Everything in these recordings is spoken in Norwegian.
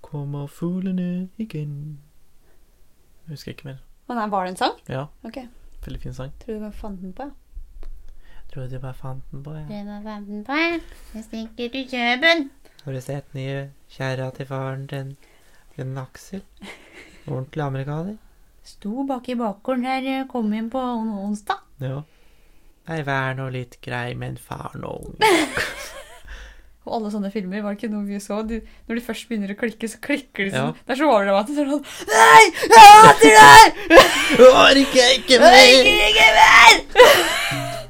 kommer fuglene igjen. Jeg husker ikke mer. Å nei, var det en sang? Ja, Ok. veldig fin sang. Tror du hvem fant den på? Tror du bare fant den på, jeg. Jeg stikker til Kjøben. Har du sett nye kjerra til faren din? En Aksel? Ordentlig amerikaner? Sto bak i bakgården her, kom inn på on onsdag. Ja. Nei, vær nå litt grei, men far nå unge. Og alle sånne filmer, var det ikke noe vi så? Du, når de først begynner å klikke, så klikker de Ja. sånn. Det er så overdramatisk. det er Sånn, Nei! Jeg hater deg! Orker jeg ikke Jeg orker ikke mer!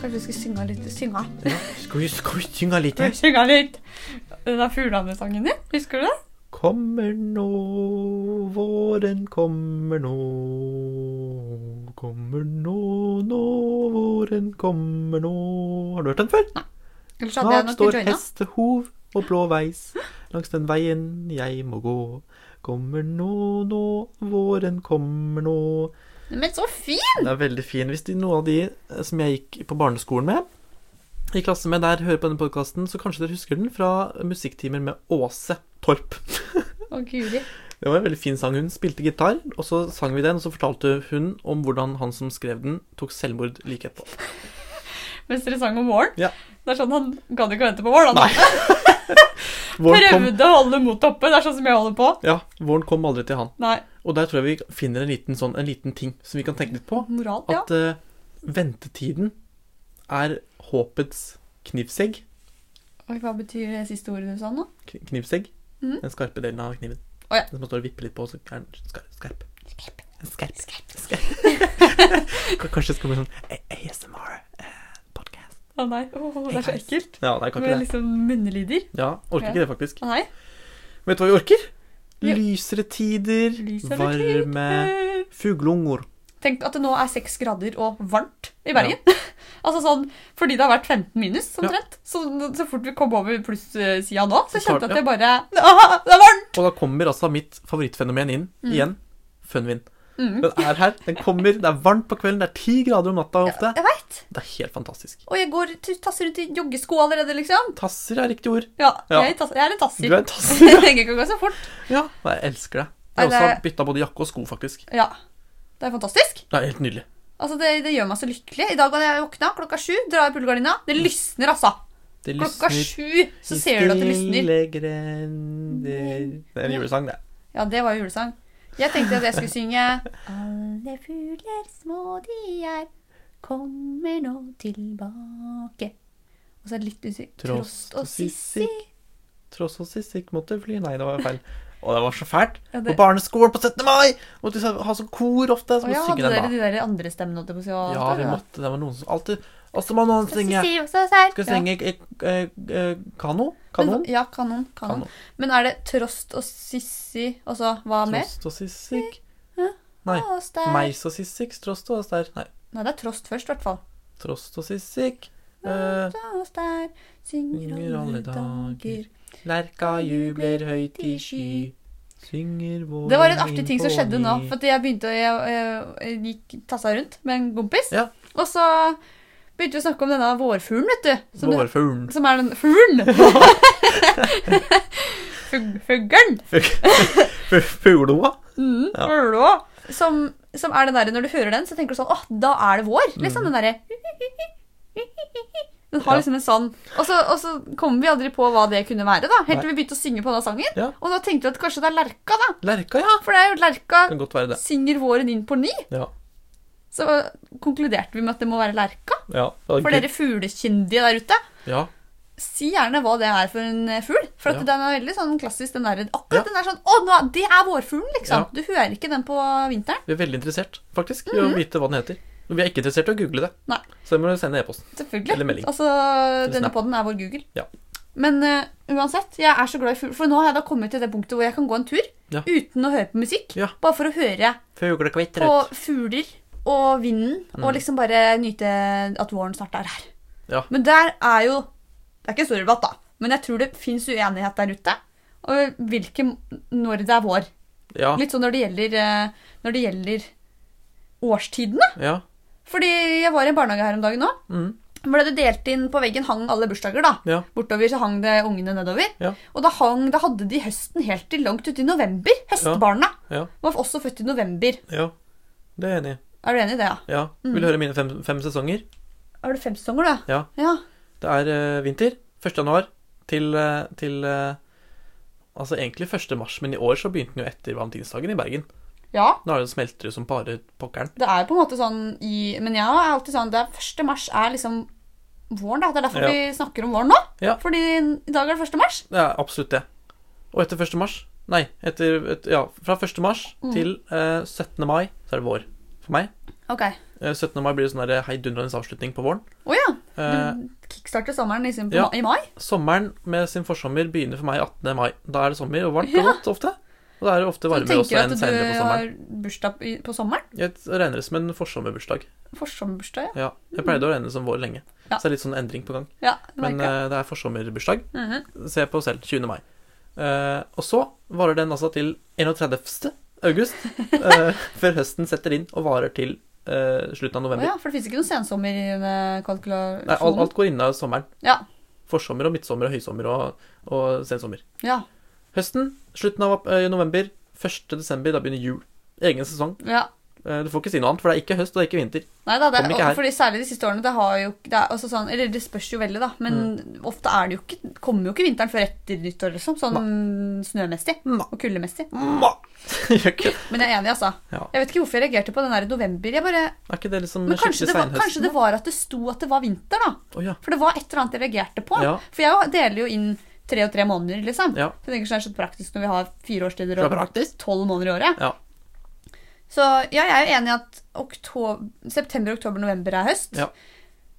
Kanskje vi skal synge litt? Synge, Ja. Skal vi, skal vi synge litt? her? synge litt den der Fugleane-sangen din? Husker du det? Kommer nå, våren kommer nå. Kommer nå, nå, våren kommer nå. Har du hørt den før? Ellers hadde jeg Snart nok står joina. hestehov og blå veis langs den veien jeg må gå. Kommer nå, nå, våren kommer nå. Men så fint! Det er veldig fin. Hvis de, noen av de eh, som jeg gikk på barneskolen med, i klasse med der hører på denne podkasten, så kanskje dere husker den fra musikktimer med Åse Torp. Å, guri. Det var en veldig fin sang. Hun spilte gitar, og så sang vi den, og så fortalte hun om hvordan han som skrev den, tok selvmord like etterpå. Mens dere sang om våren. Ja. Det er sånn Han gadd ikke å vente på våren. Han Nei. Våren kom, prøvde å holde motet oppe. Det er sånn som jeg holder på. ja, våren kom aldri til han. Nei. Og der tror jeg vi finner en liten, sånn, en liten ting som vi kan tenke litt på. Moral, ja. At eh, ventetiden er håpets knivsegg. Oi, hva betyr det siste ordet du sa nå? Kn- knivsegg. Mhm. Den skarpe delen av kniven. Å ja. Den som man står og vipper litt på, så er den skar- skarp. Skarp. Skarp. K- Kanskje det skal bli sånn eh, ASMR-podkast. Å nei, Åh, det er så ekkelt. Ja, nei, kan ikke Med det. liksom munnlyder. Ja, Orker Ja. ikke det, faktisk. Å nei. Vet du hva vi orker? Jo. Lysere tider, Lysere varme, fugleunger. Tenk at det nå er seks grader og varmt i Bergen. altså sånn, Fordi det har vært 15 minus, omtrent. Så, så fort vi kom over plussida nå, Så tar- så kjente jeg at jeg bare Åh, Det er varmt! Og da kommer altså mitt favorittfenomen inn igjen. Funvin. Mm. Den er her, den kommer, det er varmt på kvelden, det er ti grader om natta ofte. Jeg veit. Det er helt fantastisk. Og jeg går tasser rundt i joggesko allerede, liksom. Tasser er riktig ord. Ja, Ja. Jeg, er tasser, jeg er en Du tasser. er en tasser. Jeg trenger ikke å gå så fort. Ja, og jeg elsker det. Jeg Nei, har også det- bytta både jakke og sko, faktisk. Ja. Det er fantastisk. Det er helt nydelig. Altså, det, det gjør meg så lykkelig. I dag hadde jeg våkna klokka sju, drar i pullgardina. Det lysner, altså. Det Klokka sju så ser du at det lysner. Stille grender Det er en julesang, det. Ja, det var jo julesang. Jeg tenkte at jeg skulle synge Alle fugler små de er, kommer nå tilbake. Og så er det litt musikk. Trost Trost og og Sissi. Tross og sissik måtte fly Nei, det var feil. Og det var så fælt. Ja, det- På barneskolen på 17. mai måtte vi ha sånn kor ofte. Så Å ja, måtte vi synge hadde dere den, da. de der andre stemmene? holdt jeg på å si, og Ja, alt vi det der? måtte. Det var noen som alltid Og så må noen synge. Sissi og Sær. Skal vi synge eh, eh, eh, kano? Kanon? Kanon? Ja, kanon, kanon. Kanon. Men er det Trost og Sissi, og så hva mer? Trost og sissik. Ja. Nei. Ås der. Meis og sissik, trost og stær. Nei. Nei, det er Trost først, i hvert fall. Trost og sissik. Eh, Trost der synger alle dager. Lerka jubler høyt i sky. Synger våren Det var en artig ting inn som på skjedde nå. ny. For at jeg begynte å jeg, jeg, jeg gikk tassa rundt med en kompis. Ja. Og så begynte vi å snakke om denne vårfuglen, vet du. Som, det- Vårfuglen. som er den fuglen. Fug- Fuglen. Fugloa? Mm, Ja. fugla. Som, som er den derre når du hører den, så tenker du sånn Å, da er det vår. Liksom den derre Mm. Den har Ja. liksom en sånn og så, og så kom vi aldri på hva det kunne være, da. Helt til vi begynte å synge på den sangen. Ja. Og da tenkte vi at kanskje det er lerka, da. Lerka, ja. For det er jo lerka Kan godt være det. synger våren inn på ny. Ja. Så konkluderte vi med at det må være lerka. ja. For dere fuglekyndige der ute, Ja. si gjerne hva det er for en eh, fugl. For at Ja. den er veldig sånn klassisk. Den der, Ja. akkurat den er sånn Å, nå er- det er vårfuglen, liksom. Ja. Du hører ikke den på vinteren. Vi er veldig interessert, faktisk, i å vite hva den heter. Vi er ikke interessert i å google det. Mhm. Nei. Så det må du sende e-post. Selvfølgelig. Eller melding. Altså, denne snap. podden er vår Google. Ja. Men eh, uansett, jeg er så glad i fugl. For nå har jeg da kommet til det punktet hvor jeg kan gå en tur Ja. uten å høre på musikk. Ja. Bare for å høre Fuglekvitter på fugler og vinden, og liksom bare nyte at våren snart er her. Mm. Ja. Men der er jo Det er ikke stor debatt, da, men jeg tror det fins uenighet der ute. Og hvilke, når det er vår. Ja. Litt sånn når det gjelder, eh, når det gjelder årstidene. Ja. Fordi jeg var i en barnehage her om dagen òg. Mm. Hvor det delt inn på veggen hang alle bursdager, da. Ja. Bortover så hang det ungene nedover. Ja. Og da, hang, da hadde de høsten helt til langt ut i november. Høstbarna Ja. var også født i november. ja. Det er jeg enig i. Er du enig i det? ja? Ja. Vil Mm. du høre mine fem, fem sesonger? Er det fem sesonger, da? Ja. Ja. Det er eh, vinter. 1. januar til, eh, til eh, Altså egentlig 1. mars, men i år så begynte den jo etter valentinsdagen i Bergen. ja. Da er det smelter det som bare pokkeren. Det er jo på en måte sånn i Men jeg er alltid sånn det er 1. mars er liksom våren, da. Det er derfor Ja. vi snakker om våren nå. Ja. Fordi i dag er det 1. mars. Det er absolutt det. Og etter 1. mars Nei, etter, et, ja, fra 1. mars Mm. til eh, 17. mai så er det vår for meg. Ok. Eh, 17. mai blir det sånn der heidundrende avslutning på våren. Å ja. Eh, Du kickstarter sommeren liksom på ja. ma i mai? sommeren med sin forsommer begynner for meg 18. mai. Da er det sommer og varmt Ja. og godt ofte. Og da er det ofte Du varmere også tenker at enn du senere på sommeren. har bursdag i- på sommeren? Jeg regner det som en forsommerbursdag. Forsommerbursdag, Ja, ja. jeg pleide å regne det som vår lenge. Ja. Så det er litt sånn endring på gang. ja det Men merker jeg. eh, det er forsommerbursdag. Mhm. Se på selv. 20. mai. Eh, og så varer den altså til 31. august, eh, før høsten setter inn og varer til eh, slutten av Å november. ja, Mm. for det fins ikke noen sensommer i den kalkulasjonen? Nei, alt, alt går inna sommeren. Ja. Forsommer og midtsommer og høysommer og, og sensommer. Ja. Høsten, slutten av eh, november, 1. desember, da begynner jul. Egen sesong. ja. Eh, Du får ikke si noe annet, for det er ikke høst, og det er ikke vinter. Nei da, det Kom er, ikke her. og, fordi særlig de siste årene det har jo det er også sånn, Eller det spørs jo veldig, da. Men Mm. ofte er det jo ikke, kommer jo ikke vinteren før etter nyttår, liksom. Sånn snømessig Nei. og kuldemessig. Gjør ikke det. Men jeg er enig, altså. Ja. Jeg vet ikke hvorfor jeg reagerte på den der i november. Jeg bare, Er ikke det liksom men skikkelig kanskje det, var, kanskje seinhøsten? det var at det sto at det var vinter, da. Å ja. For det var et eller annet jeg reagerte på. Ja. For jeg deler jo inn tre og tre måneder, liksom. Ja. Så jeg tenker sånn, det er så praktisk når vi har fire årstider Det er og praktisk. tolv måneder i året. Ja. Så ja, jeg er jo enig i at oktober, september, oktober, november er høst. Ja.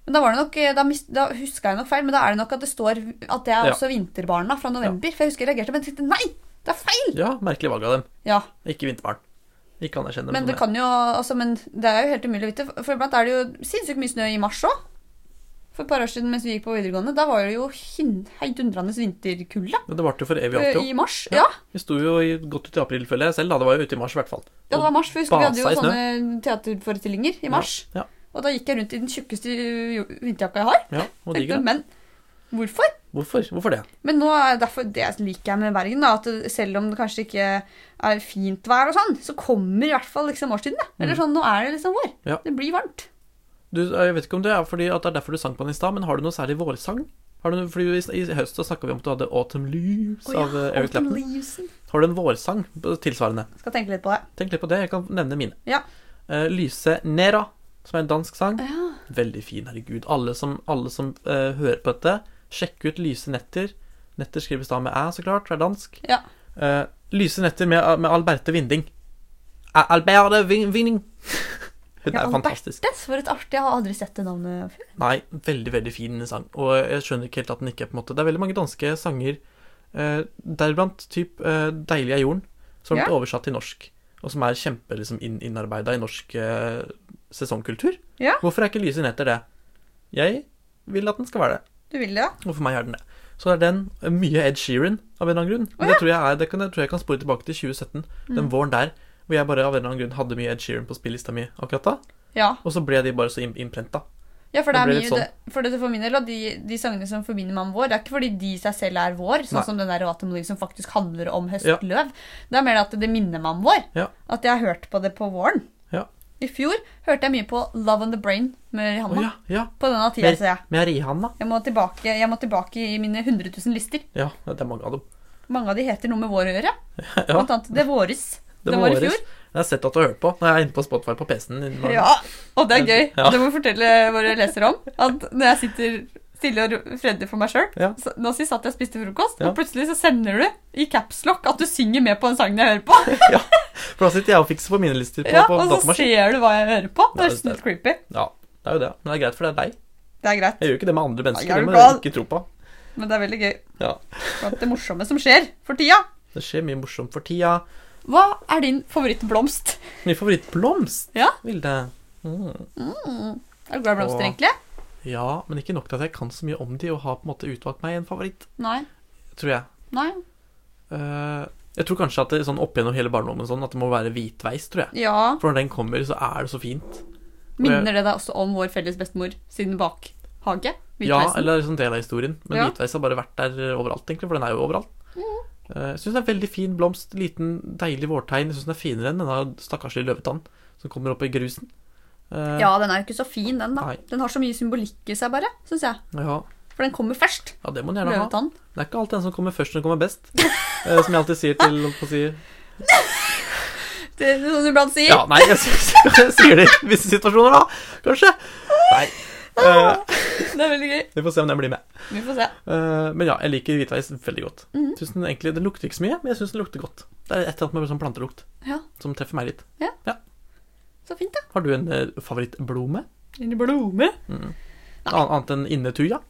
Men da, var det nok, eh, da, mis- da huska jeg nok feil, men da er det nok at det står at det er Ja. også vinterbarna fra november. For jeg husker jeg reagerte, men jeg tenkte nei, det er feil! ja, merkelig valg av dem. Ja, Ikke vinterbarn. Ikke anerkjenne dem. Men som det det. kan jo altså, Men det er jo helt umulig å vite, for iblant er det jo sinnssykt mye snø i mars òg. For et par år siden mens vi gikk på videregående, da var det jo hin- heidundrende vinterkulde Men det varte jo for evig eh, alltid. i jo. mars. Ja. Ja. Vi sto jo i, godt ut i april, føler jeg selv. Da det var jo ute i mars, i hvert fall. ja, det var mars, for jeg husker vi hadde basa i jo sånne teaterforestillinger i mars. Ja. Og da gikk jeg rundt i den tjukkeste jo- vinterjakka jeg har. ja. ja og Tenkte, digger det. men hvorfor? Hvorfor? Hvorfor det? Men nå er derfor, det liker jeg med Bergen, da, at det- selv om det kanskje ikke er fint vær, og sånn, så kommer i hvert fall liksom årstiden. Da. Eller sånn, Nå er det liksom vår. Mm. Ja. Det blir varmt. Du, jeg vet ikke om det er fordi at det er derfor du sang på den i stad, men har du noe særlig vårsang? Har du noe, fordi I, i høst så snakka vi om at du hadde 'Autumn Leaves' av eh, Eric Clapton. Skal Har du en vårsang på- tilsvarende? tenke litt på det. Tenk litt på det, jeg kan nevne mine. Ja. Eh, Lyse Nera, som er en dansk sang. Ja. Veldig fin, herregud. Alle som, alle som eh, hører på dette, sjekk ut Lyse netter. Netter skrives da med æ, så klart, for det er dansk. Ja. Eh, lyse netter med, med Alberte Vinding. A- Alberte Vin- Vinding. Hun er Ja, jo fantastisk. Albertes, for et artig. Jeg har aldri sett det navnet før. Nei, veldig, veldig fin sang. Og jeg skjønner ikke helt at den ikke er på en måte Det er veldig mange danske sanger, eh, deriblant typ eh, 'Deilig er jorden', som er blitt oversatt til norsk, og som er kjempe liksom, inn, innarbeida i norsk eh, sesongkultur. Ja. Hvorfor er ikke Lyse netter det? Jeg vil at den skal være det. Du vil det, ja? Og for meg er den det. Så det er den eh, mye Ed Sheeran, av en eller annen grunn. Men det, tror jeg er, det, kan, det tror jeg kan spore tilbake til 2017, den våren der, hvor jeg bare av en eller annen grunn hadde mye Ed Sheeran på spillelista mi akkurat da. Ja, Og så ble de bare så im- imprenta. ja for det Det er blir mye litt sånn. det, for, det, for min del, og de, de sangene som forbinder meg med vår, det er ikke fordi de i seg selv er vår, sånn Nei. som den der Autumn Leaves som faktisk handler om høstløv. Det er mer at det minner meg om vår. Ja. At jeg har hørt på det på våren. Ja. I fjor hørte jeg mye på Love on the Brain med Å Rihanna. ja, ja. På denne tida, Mer- ser jeg. Med Rihanna. Jeg må, tilbake, jeg må tilbake i mine 100 000 lister. Ja, det er mange av dem. Mange av de heter noe med vår å gjøre. Ja, Blant annet Det våres. det det må var i være. fjor. Jeg har sett at du har hørt på når jeg er inne på Spotify på PC-en. din. Ja, og det er gøy. Ja. Det må vi fortelle våre lesere om. At når jeg sitter stille og ro- fredelig for meg sjøl Ja. Nå sist satt jeg og spiste frokost, Ja. og plutselig så sender du i capslock at du synger med på den sangen jeg hører på. Ja, For da sitter jeg og fikser på mine lister på, Ja, på og så datamaskin. ser du hva jeg hører på. Det Ja, er nesten litt creepy. Ja, det er jo det. Men det er greit, for det er deg. Det er greit, Jeg gjør ikke det med andre Nei, er mennesker. du Det må du gal? ikke tro på. men det er veldig gøy. Ja. Blant det morsomme som skjer for tida. Det skjer mye morsomt for tida. Hva er din favorittblomst? Min favorittblomst, Ja, Vilde. Er du glad i blomster, Åh. egentlig? Ja, men ikke nok til at jeg kan så mye om de og har på en måte utvalgt meg en favoritt, Nei. tror jeg. Nei. Eh, Jeg tror kanskje at det, sånn opp gjennom hele barndommen sånn, at det må være hvitveis, tror jeg. Ja. For når den kommer, så er det så fint. Minner det deg også om vår felles bestemor sin Ja, bakhage? Hvitveisen? eller en sånn del av historien. Men Ja. Mm. hvitveis har bare vært der overalt, egentlig, for den er jo overalt. Eh, Jeg syns det er en veldig fin blomst. Liten, deilig vårtegn. Jeg syns den er finere enn denne stakkarslige løvetann som kommer opp i grusen. Eh, Ja, den er jo ikke så fin, den, da. Nei. Den har så mye symbolikk i seg, bare, syns jeg. ja. For den kommer først. Ja, det må den gjerne ha. Løvetann. Det er ikke alltid den som kommer først, som kommer best. Eh, som jeg alltid sier til holdt på å si. Det er sånn du iblant sier. Ja, nei, jeg sier, jeg sier det i visse situasjoner, da. Kanskje. Nei. Eh, Det er veldig gøy. vi får se om den blir med. Vi får se. Eh, men ja, jeg liker hvitveis veldig godt. Mm. Synes den, egentlig, den lukter ikke så mye, men jeg syns den lukter godt. Det er et eller annet med sånn plantelukt Ja, som treffer meg litt. så fint, da. Har du en eh, favorittblome? Lille blomme. An annet enn innetuja?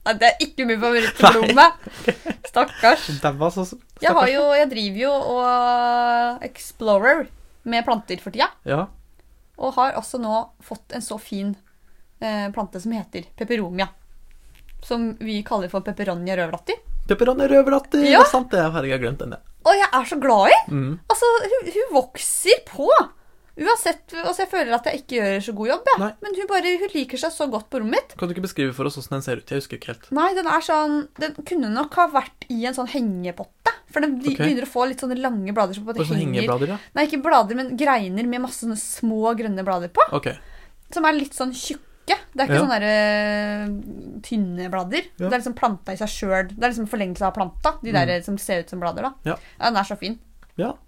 Nei, det er ikke min favorittblomme. Stakkars. Daua, så stakkars. Jeg, har jo, jeg driver jo og explorer med planter for tida. Ja. Og har også nå fått en så fin eh, plante som heter peperomia. Som vi kaller for peperonia rødlatti. Pepperoni røverdatter! Ja. Det er sant, det. Herregud, jeg har glemt den, jeg. Og jeg er så glad i! Mm. Altså, hun, hun vokser på! Uansett, altså Jeg føler at jeg ikke gjør så god jobb, jeg. Nei. men hun, bare, hun liker seg så godt på rommet mitt. Kan du ikke beskrive for oss åssen den ser ut? Jeg husker ikke helt. Nei, den er sånn Den kunne nok ha vært i en sånn hengepotte. For den be- Ok. begynner å få litt sånne lange blader som på Og en måte sånne henger hengeblader, ja. Nei, ikke blader, men greiner med masse sånne små grønne blader på. Ok. Som er litt sånn tjukke. Det er ikke Ja. sånne der, øh, tynne blader. Ja. Mm. Det er liksom planta i seg sjøl. Det er liksom forlengelse av planta. De der eh, som ser ut som blader, da. Ja. den er så fin. Ja.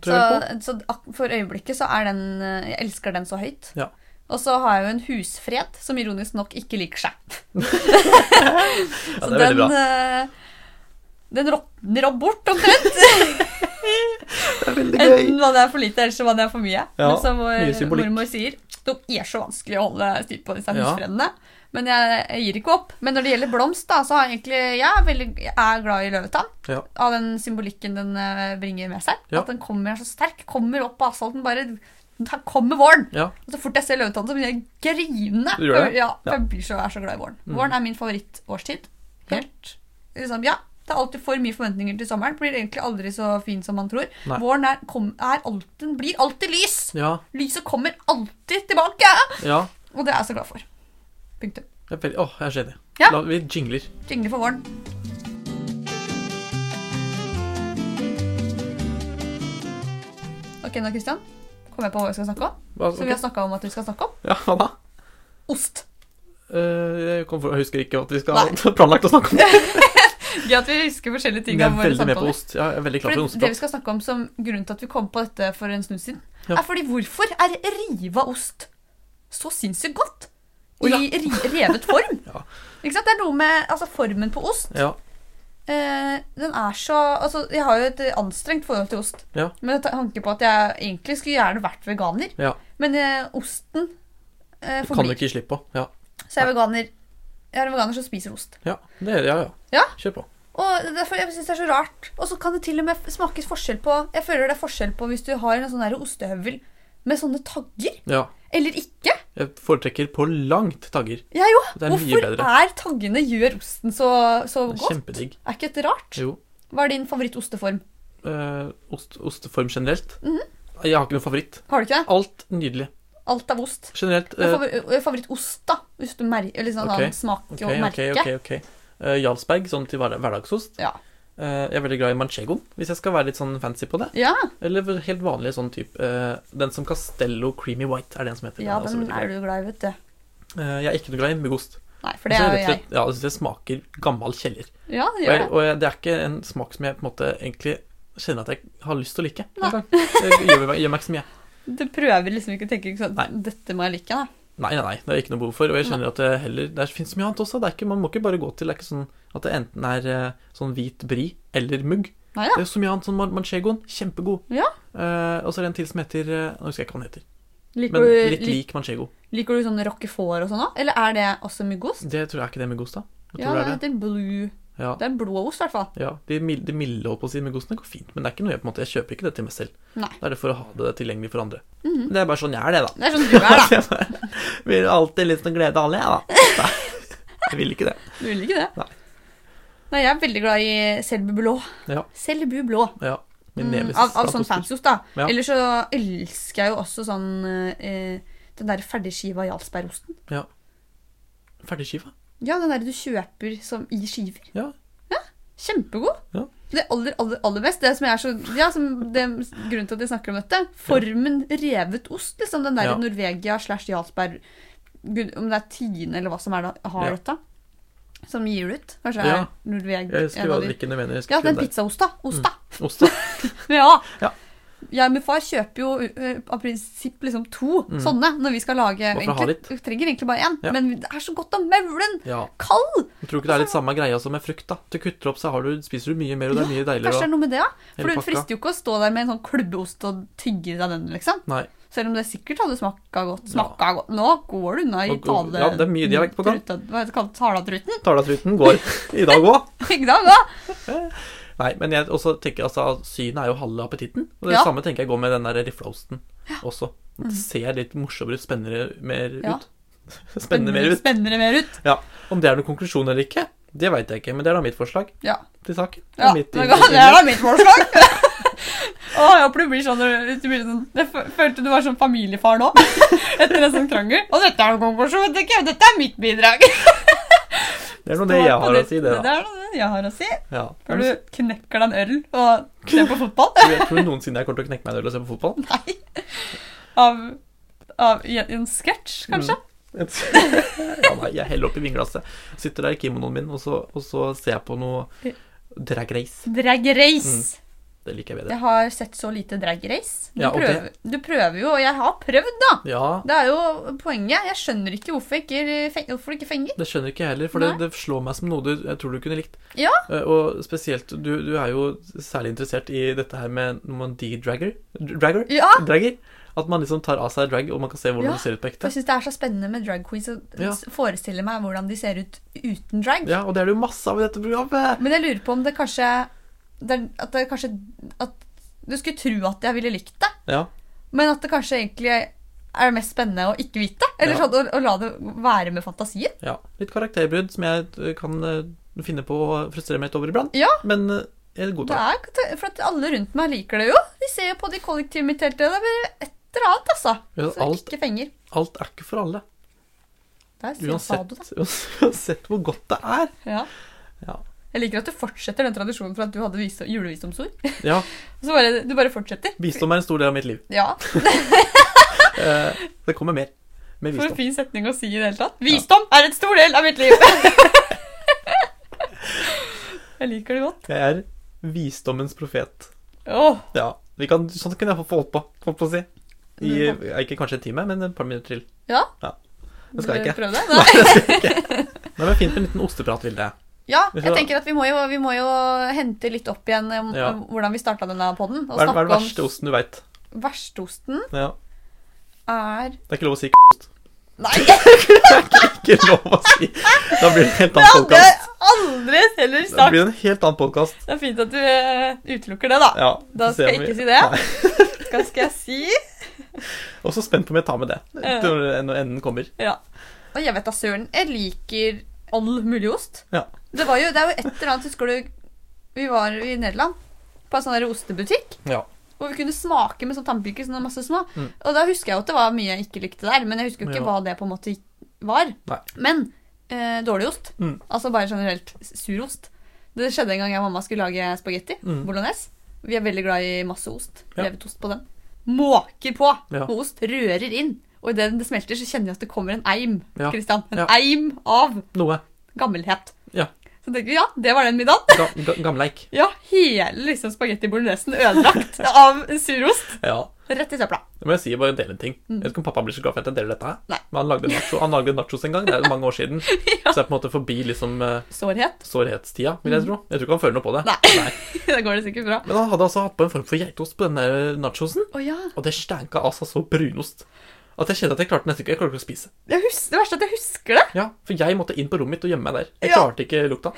Tror Så, jeg på. så ak- for øyeblikket så er den øh, Jeg elsker den så høyt. Ja. Og så har jeg jo en husfred som ironisk nok ikke liker seg. Ja, det er veldig den, bra. øh, den råtner opp bort omtrent. Det er veldig gøy. Enten var det for lite, eller så var det for mye. Ja, Men som mye vår symbolikk. mormor sier, de er så vanskelig å holde styr på disse Ja. husfredene. Men jeg, jeg gir ikke opp. Men når det gjelder blomst, da, så har jeg egentlig Jeg er, veldig, jeg er glad i løvetann. Ja. Av den symbolikken den eh, bringer med seg. Ja. At den kommer så sterk. Kommer opp på asfalten, bare den tar- Kommer våren! Ja. Og så fort jeg ser løvetann, så begynner jeg å grine. Du gjør det? Ja, Ja. for jeg blir så, er så glad i våren. Mm. Våren er min favorittårstid. Helt liksom, Ja. Det er alltid for mye forventninger til sommeren. Blir egentlig aldri så fin som man tror. Nei. Våren er, kom, er alltid, den blir alltid lys! ja. Lyset kommer alltid tilbake! ja. Og det er jeg så glad for. Punktum. Jeg er veldig, åh, jeg er så enig. Ja. La, vi jingler. Jingle for våren. Ok, nå Kristian. Kom jeg på hva vi skal snakke om? Hva, Som vi har snakka om at vi skal snakke om. Ja, hva da? Ost. Eh, jeg, kom for, jeg husker ikke at vi skal Nei. ha planlagt å snakke om det. Gøy at vi husker forskjellige ting. Jeg er av våre veldig med på samtaler. ost. Ja, jeg er veldig klar for en For det vi osteprat. skal snakke om som grunnen til at vi kom på dette for en stund siden, Ja. er fordi hvorfor er riva ost så sinnssykt godt? I Å, ja. ri, revet form. Ja. Ikke sant? Det er noe med altså, formen på ost. Ja, Eh, den er så Altså, jeg har jo et eh, anstrengt forhold til ost. Ja. Med tanke på at jeg egentlig skulle gjerne vært veganer. ja. Men eh, osten Kan eh, du forblir. ikke gi slipp på. Ja. Så jeg er veganer. Jeg er en veganer som spiser ost. Ja, det, ja, ja. Ja. Kjør på. Og derfor jeg synes det er så rart. Og så kan det til og med smakes forskjell på Jeg føler det er forskjell på hvis du har en sånn der ostehøvel med sånne tagger, Ja. eller ikke. Jeg foretrekker på langt tagger. Jeg jo! Det er mye Hvorfor bedre. er taggene gjør osten så, så Det er godt? Kjempedigg. Er ikke dette rart? Jo. Hva er din favorittosteform? Eh, ost, osteform generelt. Mhm. Jeg har ikke noen favoritt. Har du ikke det? Alt nydelig. Alt er ost. Generelt. Men eh, favor- eh, Favorittost, da. Hvis du mer eller sånn Ok. annen smak eh, ok, og ok, merke. ok. ok. Eh, Jarlsberg, sånn til hver- hverdagsost. Ja. Eh, jeg er veldig glad i manchegoen, hvis jeg skal være litt sånn fancy på det. Ja, Eller helt vanlig sånn type eh, Den som Castello Creamy White er altså den som heter. ja, Den er også den veldig er god. du glad i, vet du. Eh, jeg er ikke noe glad i muggost. Nei, for det er jo rett og jeg. slett- Ja, jeg syns det smaker gammel kjeller. Ja, det Og, gjør jeg, det. og jeg, det er ikke en smak som jeg på en måte egentlig kjenner at jeg har lyst til å like. Nei. engang. Det gjør meg- gjør meg ikke så mye. Du prøver liksom ikke å tenke ikke sånn Nei. Dette må jeg like, da. Nei, nei, nei, det er ikke noe behov for. Og jeg skjønner at det heller Det finnes så mye annet også. Det er ikke, man må ikke bare gå til Det er ikke sånn at det enten er eh, sånn hvit bri eller mugg. Nei Det da. er så mye annet. Sånn man- manchegoen, kjempegod. Ja. Eh, og så er det en til som heter eh, Nå husker jeg ikke hva den heter. Liker Men du, litt lik- lik manchego. Liker du sånn roquefort og sånn òg? Eller er det også myggost? Det tror jeg er ikke det med gost, da. Jeg Ja, tror det det er det. heter blue Ja. Det er en blå ost, i hvert fall. ja. De, mil- de milde holdt på å si med gosten går fint, men det er ikke noe jeg på en måte Jeg kjøper ikke det til meg selv. Nei. Det er det for å ha det tilgjengelig for andre. Det er bare sånn jeg er, det, da. Det er sånn du er, da. Vil alltid litt sånn glede alle, jeg, da. Nei, jeg vil ikke det. Du vil ikke det? Nei. Nei, jeg er veldig glad i Selbu Blå. Ja. Selbu Blå. Ja. Min Mm, nemesis. av, av blant sånn oss- fansost, da. Ja. Ellers så elsker jeg jo også sånn eh, Den der ferdigskiva Jarlsbergosten. Ja. Ferdigskiva. Ja, den der du kjøper som i skiver. Ja. Kjempegod. Ja. Det aller, aller, aller best, det som jeg er så Ja, som det, grunnen til at jeg snakker om dette, formen revet ost, liksom. Den der Ja. Norvegia slash Jarlsberg Gud, Om det er Tine eller hva som er det, har Ja. dette. Som gir det ut. Kanskje Ja. er Norvegia Jeg husker hva drikken du mener. Jeg Ja, husker den kun det. pizzaosta. Osta. Ost, da. Ja. Ja. Jeg og min far kjøper jo ø, av prinsipp liksom to Mm. sånne når vi skal lage. Bare for å ha egentlig- Vi trenger egentlig bare én, Ja. men det er så godt å mevle den Ja. kald! Jeg tror ikke det er litt samme greia som med frukt, da. Du kutter opp, så har du, spiser du mye mer, og det er mye Kanskje det deiligere. er noe med det, ja. For Hele det pakka. frister jo ikke å stå der med en sånn klubbeost og tygge deg den, liksom. Nei. Selv om det sikkert hadde smaka godt. Smaka godt. Nå går du unna i Og- og- tale... ja, det er mye dialekt på gang. truta- Hva heter det? kalt? Talatruten? Talatruten går i dag òg. Ikke sant? da? Nei, men jeg også tenker altså at synet er jo halve appetitten. Og det Ja. Mm. samme tenker jeg går med den der rifleosten også. Det ser litt morsommere, spennere mer Ja. ut. Spennende mer ut. Spennende mer ut. Ja. Om det er noen konklusjon eller ikke, det veit jeg ikke, men det er da mitt forslag Ja. til saken. Det er Ja, mitt det er innlegg. det er da mitt forslag. Å, jeg håper du blir sånn, du blir sånn Jeg fø- følte du var sånn familiefar nå. Etter en sånn krangel. Og dette er en konklusjon, tenker jeg. Dette er mitt bidrag. Det er nå det jeg har å si, det, Det da. er noe jeg har å si. Ja. Når Er du det knekker deg en øl og ser på fotball. så- Tror du noensinne jeg kommer til å knekke meg en øl og se på fotball? Nei. Av, av i en- i en sketsj, kanskje. ja, nei, jeg heller oppi vinglasset. Sitter der i kimonoen min, og så, og så ser jeg på noe drag race. Mm. Drag race. Det liker jeg bedre. Jeg har sett så lite drag race. Du, Ja, og prøver, det- du prøver jo, og jeg har prøvd, da. Ja, Det er jo poenget. Jeg skjønner ikke hvorfor, jeg ikke, feng- hvorfor det ikke fenger. Det skjønner ikke jeg heller, for det, det slår meg som noe du, jeg tror du kunne likt. Ja. Eh, Og spesielt, du, du er jo særlig interessert i dette her med når man de-dragger. Dragger? Ja, Dragger? At man liksom tar av seg drag, og man kan se hvordan Ja, det ser ut på for ekte. jeg syns det er så spennende med drag queens å Ja. forestille meg hvordan de ser ut uten drag. Ja, og det er det jo masse av i dette programmet! Men jeg lurer på om det kanskje det er, At det kanskje At du skulle tro at jeg ville likt det, Ja, men at det kanskje egentlig er mest spennende å ikke vite. Eller Ja. sånn å, å la det være med fantasien. ja. Litt karakterbrudd som jeg eh, kan eh, finne på å frustrere meg litt over iblant, Ja. men eh, jeg Det godtar det. er, for at alle rundt meg liker det jo. De ser jo på de kollektivmitterte. Det blir et eller annet, altså. Ja, Som alt- ikke fenger. Alt er ikke for alle. Der sier- sa Uansett, du det. uansett hvor godt det er. Ja. Ja. Jeg liker at du fortsetter den tradisjonen for at du hadde vis- julevisdomsord. ja. Så bare, du bare fortsetter. Visdom er en stor del av mitt liv. Ja, Eh, Det kommer mer med For en visdom. fin setning å si i det hele tatt. Visdom er et stor del av mitt liv! jeg liker det godt. Jeg er visdommens profet. Åh, Ja, vi kan, sånn kunne jeg få holdt på, holdt på å si. I, Men eh, ikke kanskje en time, men et par minutter til. ja. Ja. Det skal jeg Vil ikke. du Prøve det? Nei. Nei, men fint med en liten osteprat, Vilde. Ja, Vi jeg skal- tenker at vi må jo, vi må jo hente litt opp igjen om, Ja. om hvordan vi starta denne poden. Hva er, hva er den verste osten du veit? Versteosten Ja, er det er ikke lov å si Nei, Ikke lov å si! Da blir det en helt det annen hadde podkast. jeg aldri heller Da sagt. blir det en helt annen podcast. Det er fint at du eh, utelukker det, da. Ja, Da så ser skal jeg vi- ikke si det. Nei. Hva skal jeg si? Og så spent på om jeg tar med det Ja. når når enden kommer. Ja. Og jeg vet da søren, jeg liker all mulig ost. Ja. Det, var jo, det er jo et eller annet, husker du Vi var i Nederland på en sånn der ostebutikk. Ja. Hvor vi kunne smake med sånn tannpirker. Sånn masse små. Mm. Og da husker jeg jo at det var mye jeg ikke likte der. Men jeg husker jo ikke Ja. hva det på en måte var. Nei. Men eh, dårlig ost. Mm. Altså bare generelt surost. Det skjedde en gang jeg og mamma skulle lage spagetti. Mm. Bolognese. Vi er veldig glad i masse ost. Ja. Revet ost på den. Måker på Ja. med ost. Rører inn. Og idet det smelter, så kjenner jeg at det kommer en eim. Ja. Kristian. En Ja. eim av Noe. gammelhet. Ja. Så tenker vi ja, det var den middagen. Ga, ga, gamleik. Ja, hele liksom spagetti bolognesen ødelagt av surost. Ja. Rett i søpla. Det må jeg si, bare dele en ting. Jeg vet ikke om pappa blir så glad for at jeg deler dette. her. Mm. Nei. Men han lagde, nacho, han lagde nachos en gang, det er jo mange år siden. Så jeg er på en måte forbi liksom eh, Sårhet. sårhetstida, vil jeg tro. Jeg tror ikke han føler noe på det. Mhm. Nei. det går det sikkert bra. Men han hadde altså hatt på en form for geitost på den der nachosen, Å ja. og det stanka altså så brunost at jeg kjente at jeg klarte nesten ikke jeg klarte ikke å spise. Jeg hus- det verste er at jeg husker det. Ja, For jeg måtte inn på rommet mitt og gjemme meg der. Jeg Ja. klarte ikke lukta.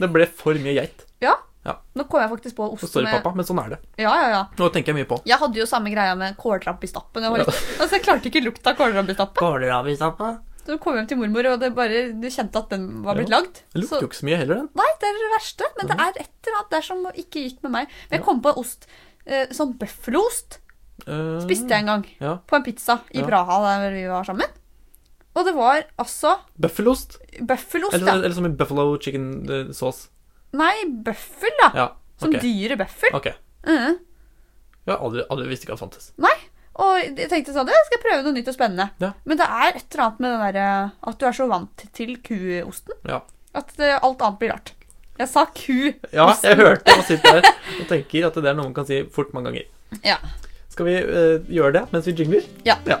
Det ble for mye geit. Ja. Ja. Nå kom jeg faktisk på Så ost sorry, pappa, men sånn er det. Ja, ja, ja. Nå tenker jeg mye på Jeg hadde jo samme greia med kålrabistappen. Jeg, var litt- altså, jeg klarte ikke lukta av kålrabistappen. Kålrabistappe. Så kom jeg hjem til mormor, og det bare, du kjente at den var blitt Ja. lagd. Det lukter Så, jo ikke så mye heller, den. nei, det er det verste, men det er et eller annet der som ikke gikk med meg. Men jeg kom på en ost, eh, sånn bøffelost, Eh, spiste jeg en gang. Ja. På en pizza i Ja. Praha, der vi var sammen. Og det var altså Bøffelost. bøffelost, Eller, ja. eller som i buffalo chicken eh, sauce. Nei, bøffel, da. Ja, Som ok. dyre bøffel. ok. Mhm. Jeg har aldri, aldri visste ikke at det fantes. Og jeg tenkte sånn, jeg skal prøve noe nytt og spennende. Ja. Men det er et eller annet med den der, eh, at du er så vant til kuosten Ja. at eh, alt annet blir rart. Jeg sa ku. Ja, jeg hørte det og sitter der og tenker at det er noe man kan si fort mange ganger. Ja. Skal vi eh, gjøre det mens vi jingler? Ja. ja.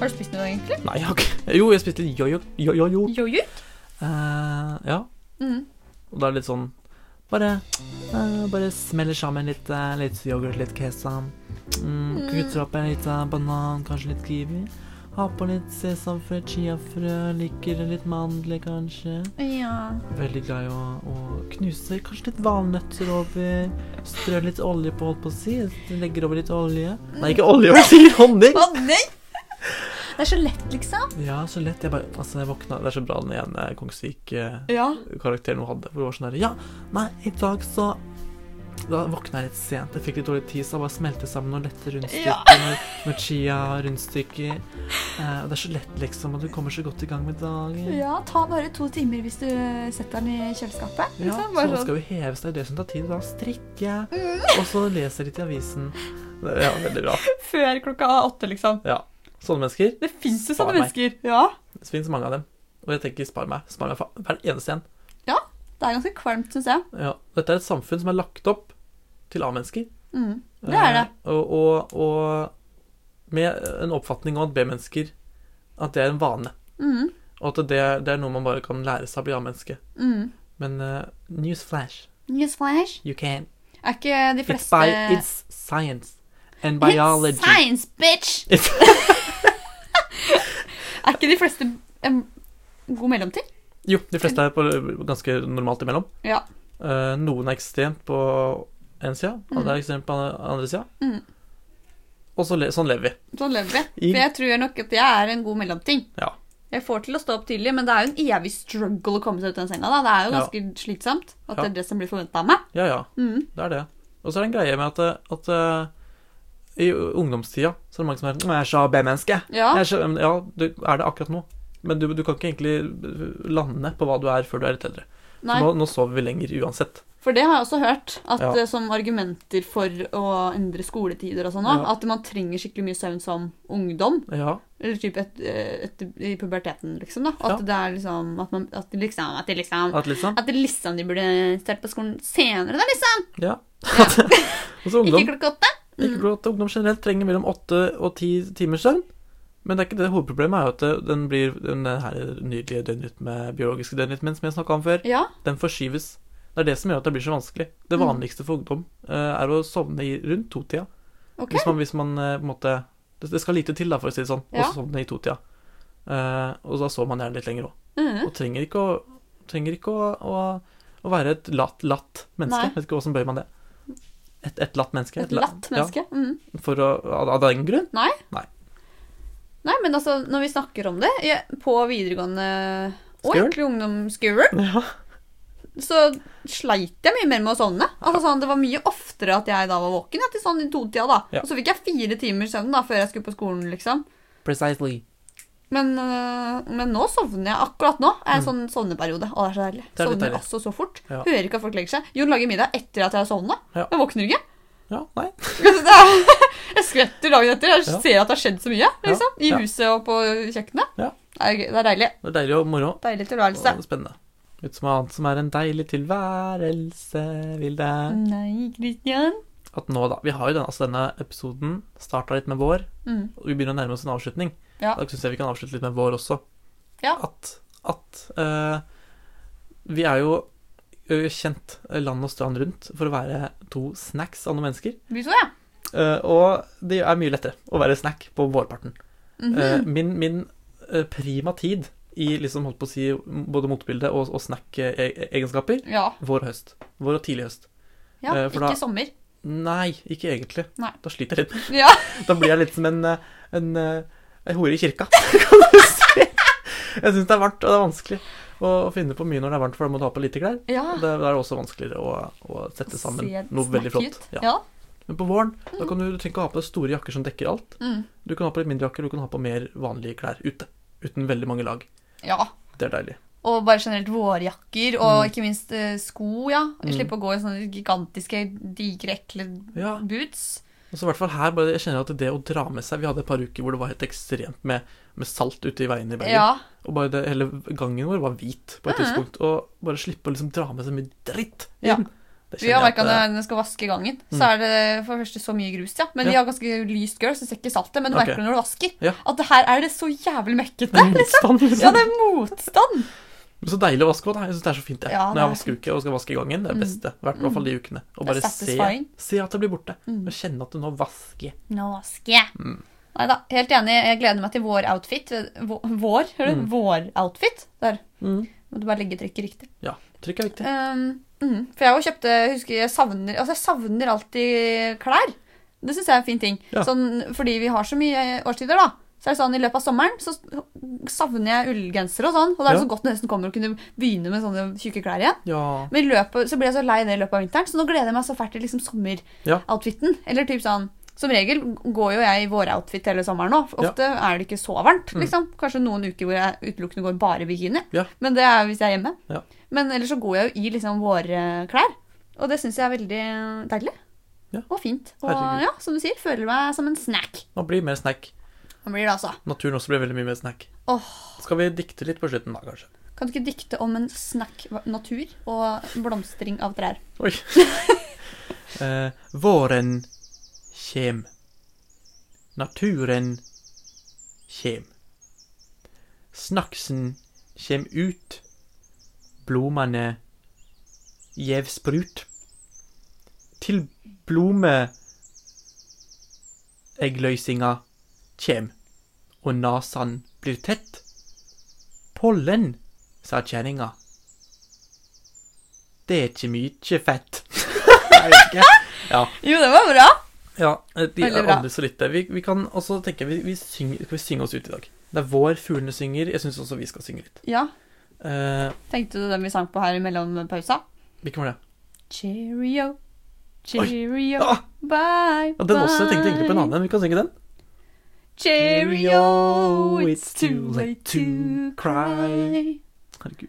Har du spist noe egentlig? Nei, jeg har ikke Jo, jeg spiste litt jojo. Jo, jo, jo. Yoghurt? Eh, ja. Mhm. Og da er det litt sånn Bare, eh, bare smeller sammen litt, eh, litt yoghurt, litt kesam. Mm, kutter opp en liten banan, kanskje litt kiwi. Ha på litt sesamfrø, chiafrø, liker litt mandler kanskje. Ja. Veldig glad i å, å knuse kanskje litt valnøtter over. Strø litt olje på, holdt på å si. Legger over litt olje. Nei, ikke olje, hva sier jeg? honning? Å nei! Det er så lett, liksom. Ja, så lett. Jeg bare, altså, jeg våkna Det er så bra den ene Kongsvik-karakteren Ja. hun hadde. Hvor det var sånn der Ja, nei, i dag så Da våkna jeg litt sent. Jeg fikk litt dårlig tid, så jeg bare smelte sammen noen lette rundstykker. Ja. Noen, noen chia-rundstykker. Eh, og det er så lett, liksom, og du kommer så godt i gang med dagen. Ja, ta bare to timer hvis du setter den i kjøleskapet. Ja, Liksom. så Bare man sånn. Mm. skal jo heve seg, det er det som tar tid. Da strikker jeg, og så leser jeg litt i avisen. Ja, veldig bra. Før klokka åtte, liksom. Sånne mennesker. Det fins jo Spar sånne meg. mennesker. Ja. Det finnes mange av dem. Og jeg tenker, spar meg. Spar meg for hver eneste en. Det er ganske kvalmt, syns jeg. Ja. Dette er et samfunn som er lagt opp til A-mennesker. Mm. Det er det. Eh, Og, og, og med en oppfatning om at B-mennesker At det er en vane. Mm. Og at det, det er noe man bare kan lære seg å bli A-menneske. Mm. Men uh, newsflash, Newsflash. you can. Er ikke de It's fleste by it's science and It's biology. Science, bitch! It's- Er ikke de fleste en god mellomting? Jo, de fleste er på ganske normalt imellom. Ja. Eh, noen er ekstremt på én side, andre er ekstremt på den andre sida. Mm. Og så le sånn lever vi. Sånn lever vi. I- For jeg tror nok at jeg er en god mellomting. Ja. Jeg får til å stå opp tidlig, men det er jo en evig struggle å komme seg ut av den senga. da. Det er jo Ja. ganske slitsomt at Ja. det er det som blir forventa av meg. Ja, ja, Mm. det er det. Og så er det en greie med at, eh, at eh, i ungdomstida så er det mange som er «Nå, 'Jeg er så B-menneske'. Ja. Jeg er så- Ja, du er det akkurat nå. Men du, du kan ikke egentlig eh, lande på hva du er før du er litt eldre. Så Nei. nå, nå sover vi lenger uansett. For det har jeg også hørt at Ja. eh, som argumenter for å endre skoletider og sånn òg, Ja. at man trenger skikkelig mye søvn som ungdom. Ja, Eller typ et, eh, et, i puberteten, liksom. da. Ja. At det er liksom At, man, at det liksom At det liksom at liksom. At det liksom de burde starte på skolen senere, da, liksom. Ja. Og så ungdom. Ikke klokka åtte. Ikke klart at ungdom generelt trenger mellom åtte og ti timers søvn. Men det er ikke det. hovedproblemet er jo at det- den blir den her nydelige døgnrytme, biologiske døgnrytmen som jeg snakka om før, Ja. den forskyves. Det er det som gjør at det blir så vanskelig. Det Mm. vanligste for ungdom eh, er å sovne i rundt totida. Ok. Hvis man, hvis man eh, på en måte det, det skal lite til, da, for å si det sånn, å Ja. sovne i totida. Eh, og da sover man gjerne litt lenger òg. Mhm. Og trenger ikke å, trenger ikke å, å, å være et latt, latt menneske. Nei. Vet ikke hvordan bøyer man det. Et, et latt menneske. Et la- latt Ja. menneske. Mhm. For å, av, av den grunn? Nei. Nei. Nei, men altså, når vi snakker om det jeg, på videregående og Skole? egentlig ungdomsskole, Ja. så sleit jeg mye mer med å sovne. Altså sånn, Det var mye oftere at jeg da var våken, ja, til sånn i totida, da. Ja. Og så fikk jeg fire timer søvn da, før jeg skulle på skolen, liksom. Precisely. Men, øh, men nå sovner jeg. Akkurat nå er jeg i sånn sovneperiode. Å, det er så deilig. Mm. Det er litt sovner deilig. også så fort. Ja. Hører ikke at folk legger seg. Jon lager middag etter at jeg har sovna. Ja. Jeg våkner ikke. Ja, nei. Det er- Jeg skvetter dagen etter. Jeg Ja. ser at det har skjedd så mye liksom, i Ja. huset og på kjøkkenet. Ja. Det er gøy. Det er deilig. Det er deilig og moro. Deilig Og tilværelse. spennende. Ut som annet som er en deilig tilværelse, vil det Nei, Christian. At nå, da. Vi har jo den, altså denne episoden starta litt med vår, Mm. og vi begynner å nærme oss en avslutning. Ja. Da syns jeg vi kan avslutte litt med vår også. Ja. At at eh, Vi er jo eh, kjent land og strand rundt for å være to snacks av noen mennesker. Vi så, ja. Eh, og det er mye lettere å være snack på vårparten. Mhm. Eh, min min eh, prima tid i liksom, holdt på å si, både motebilde og, og snack-egenskaper ja. vår og høst. Vår og tidlig høst. ja. eh, for da- Ikke sommer. Nei, ikke egentlig. Nei. Da sliter jeg litt. Ja. Da blir jeg litt som en, eh, en, eh, en hore i kirka, kan du si. Jeg syns det er varmt, og det er vanskelig å å finne på mye når det er varmt, for da må du ha på lite klær. ja. Og det, da er det også vanskeligere å, å sette sammen Se- noe veldig snakke flott. ut. Ja. Ja. Men på våren da kan du, du trenger ikke å ha på deg store jakker som dekker alt. Mm. Du kan ha på litt mindre jakker, du kan ha på mer vanlige klær ute. Uten veldig mange lag. ja. Det er deilig. Og bare generelt vårjakker, og Mm. ikke minst eh, sko, ja. Mm. Slippe å gå i sånne gigantiske, digre, ekle Ja. boots. Og så i hvert fall her, bare, jeg kjenner at det å dra med seg Vi hadde et par uker hvor det var helt ekstremt med, med salt ute i veiene i Bergen. Ja. Og bare det, hele gangen vår var hvit på et Mhm. tidspunkt. Og bare slippe å liksom dra med seg mye dritt Ja. inn. Det Vi har kjenner jeg merka at, når jeg skal vaske gangen, så er det for det første så mye grus, ja. Men Ja. de har ganske lyst gulv, så du ser ikke saltet. Men du Ok. merker det når du vasker. Ja. At det her er det så jævlig det møkkete. er motstand, liksom. Ja, det er motstand. Men Så deilig å vaske òg, da. Jeg synes det er så fint. Jeg. Ja, Når det jeg er Mm. vasker uke og skal vaske i gangen, det er det beste. I hvert i hvert fall de ukene. Og Det bare er se, satisfying. Mm. se at det blir borte. Og kjenne at du nå vasker. Nå vasker jeg. Mm. Nei da, helt enig. Jeg gleder meg til vår outfit. Vå- Vår, hører du? Vår outfit. Der. Mm. Må du bare legge trykket riktig. Ja. Trykk er viktig. Um, mhm. For jeg jo kjøpte jeg husker jeg savner, altså jeg savner alltid klær. Det syns jeg er en fin ting. Ja. Sånn, fordi vi har så mye årstider, da. Så er det sånn, I løpet av sommeren så savner jeg ullgensere og sånn. Og da er det Ja. så godt når høsten kommer og kunne begynne med sånne tjukke klær igjen. Ja. Men i løpet, så blir jeg så lei det i løpet av vinteren, så nå gleder jeg meg så fælt til liksom Ja. sommeroutfiten. Eller typ sånn Som regel går jo jeg i våroutfit hele sommeren nå. Ja. Mm. Ofte er det ikke så varmt, liksom. Kanskje noen uker hvor jeg utelukkende går bare i bikini. Ja. Men det er hvis jeg er hjemme. Ja. Men ellers så går jeg jo i liksom vårklær. Og det syns jeg er veldig deilig. Ja. Og fint. Og Herregud. ja, som du sier, føler meg som en snack. Nå blir det mer snack. Det blir det, altså. Naturen også blir veldig mye mer snack. Åh, Skal vi dikte litt på slutten, da, kanskje? kan du ikke dikte om en snack natur og blomstring av trær? Oi. eh, våren kjem. Naturen kjem. Snaksen kjem ut. Blomane gjev sprut. Til blome eggløysinga kjem, og nasan blir tett. Pollen, sa kjerringa. Det er ikke mye fett. Jeg vet ikke. Ja. Jo, det var bra! ja eh, de Veldig er bra. aldri så lite. Vi, vi kan også tenke vi, vi synger, Skal vi synge oss ut i dag? Det er vår, fuglene synger. Jeg syns også vi skal synge litt. Ja, Eh, Tenkte du den vi sang på her i mellompausa? hvilken var det? Cheerio, cheerio, Ah! bye, Ja, den også. Jeg tenkte bye. egentlig på en annen, men vi kan synge den. Cheerio, it's too late to cry. Herregud.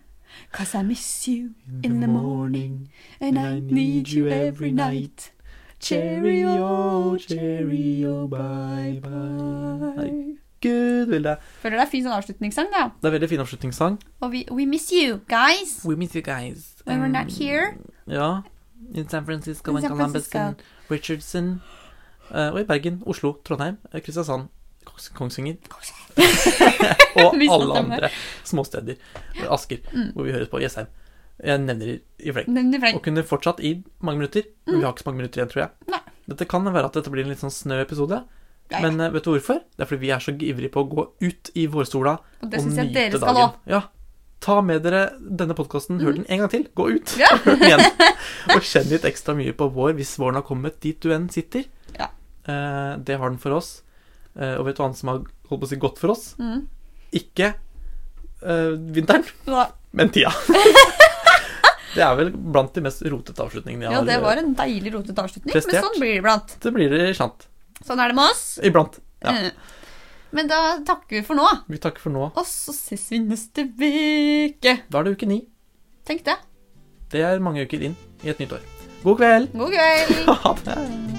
Cause I miss you in the morning, and I need you every night. Cheerio, cheerio, bye, bye. Gud vilde. Føler det er fin sånn avslutningssang, da. Det er veldig fin avslutningssang. Og vi we miss you, guys. We miss you guys. When we're not Um, here. Ja. In San Francisco In and San Columbus Francisco. and Richardson. Eh, og i Bergen, Oslo, Trondheim, eh, Kristiansand, Kongs- Kongsvinger. og Mye sånt alle der. andre småsteder. Eh, Asker, Mm. hvor vi høres på. Jessheim. Jeg nevner i fleng. Nevn i fleng. Og kunne fortsatt i mange minutter. Men vi har ikke så mange minutter igjen, tror jeg. Mm. Nei. Dette kan være at dette blir en litt sånn snø episode. Ja, ja. Men eh, vet du hvorfor? Det er fordi vi er så ivrige på å gå ut i vårsola Og og, det synes jeg nyte dere skal dagen. også. Ja. Ta med dere denne podkasten, hør den en gang til, gå ut, Ja. hør den igjen. Og kjenn litt ekstra mye på vår hvis våren har kommet dit du enn sitter. Ja. Eh, det har den for oss. Eh, og vet du hva annet som har holdt på å si godt for oss? Mm. Ikke eh, vinteren, Da- men tida. det er vel blant de mest rotete avslutningene jeg Ja, har det var en deilig rotete avslutning, Prestert. men sånn blir det iblant. Det blir det sant. Sånn er det med oss. Iblant. Ja. Eh. Men da takker vi for nå, Vi takker for nå. og så ses vi neste uke. Da er det uke ni. Tenk det. Det er mange uker inn i et nytt år. God kveld! God kveld. Ha det! Mm.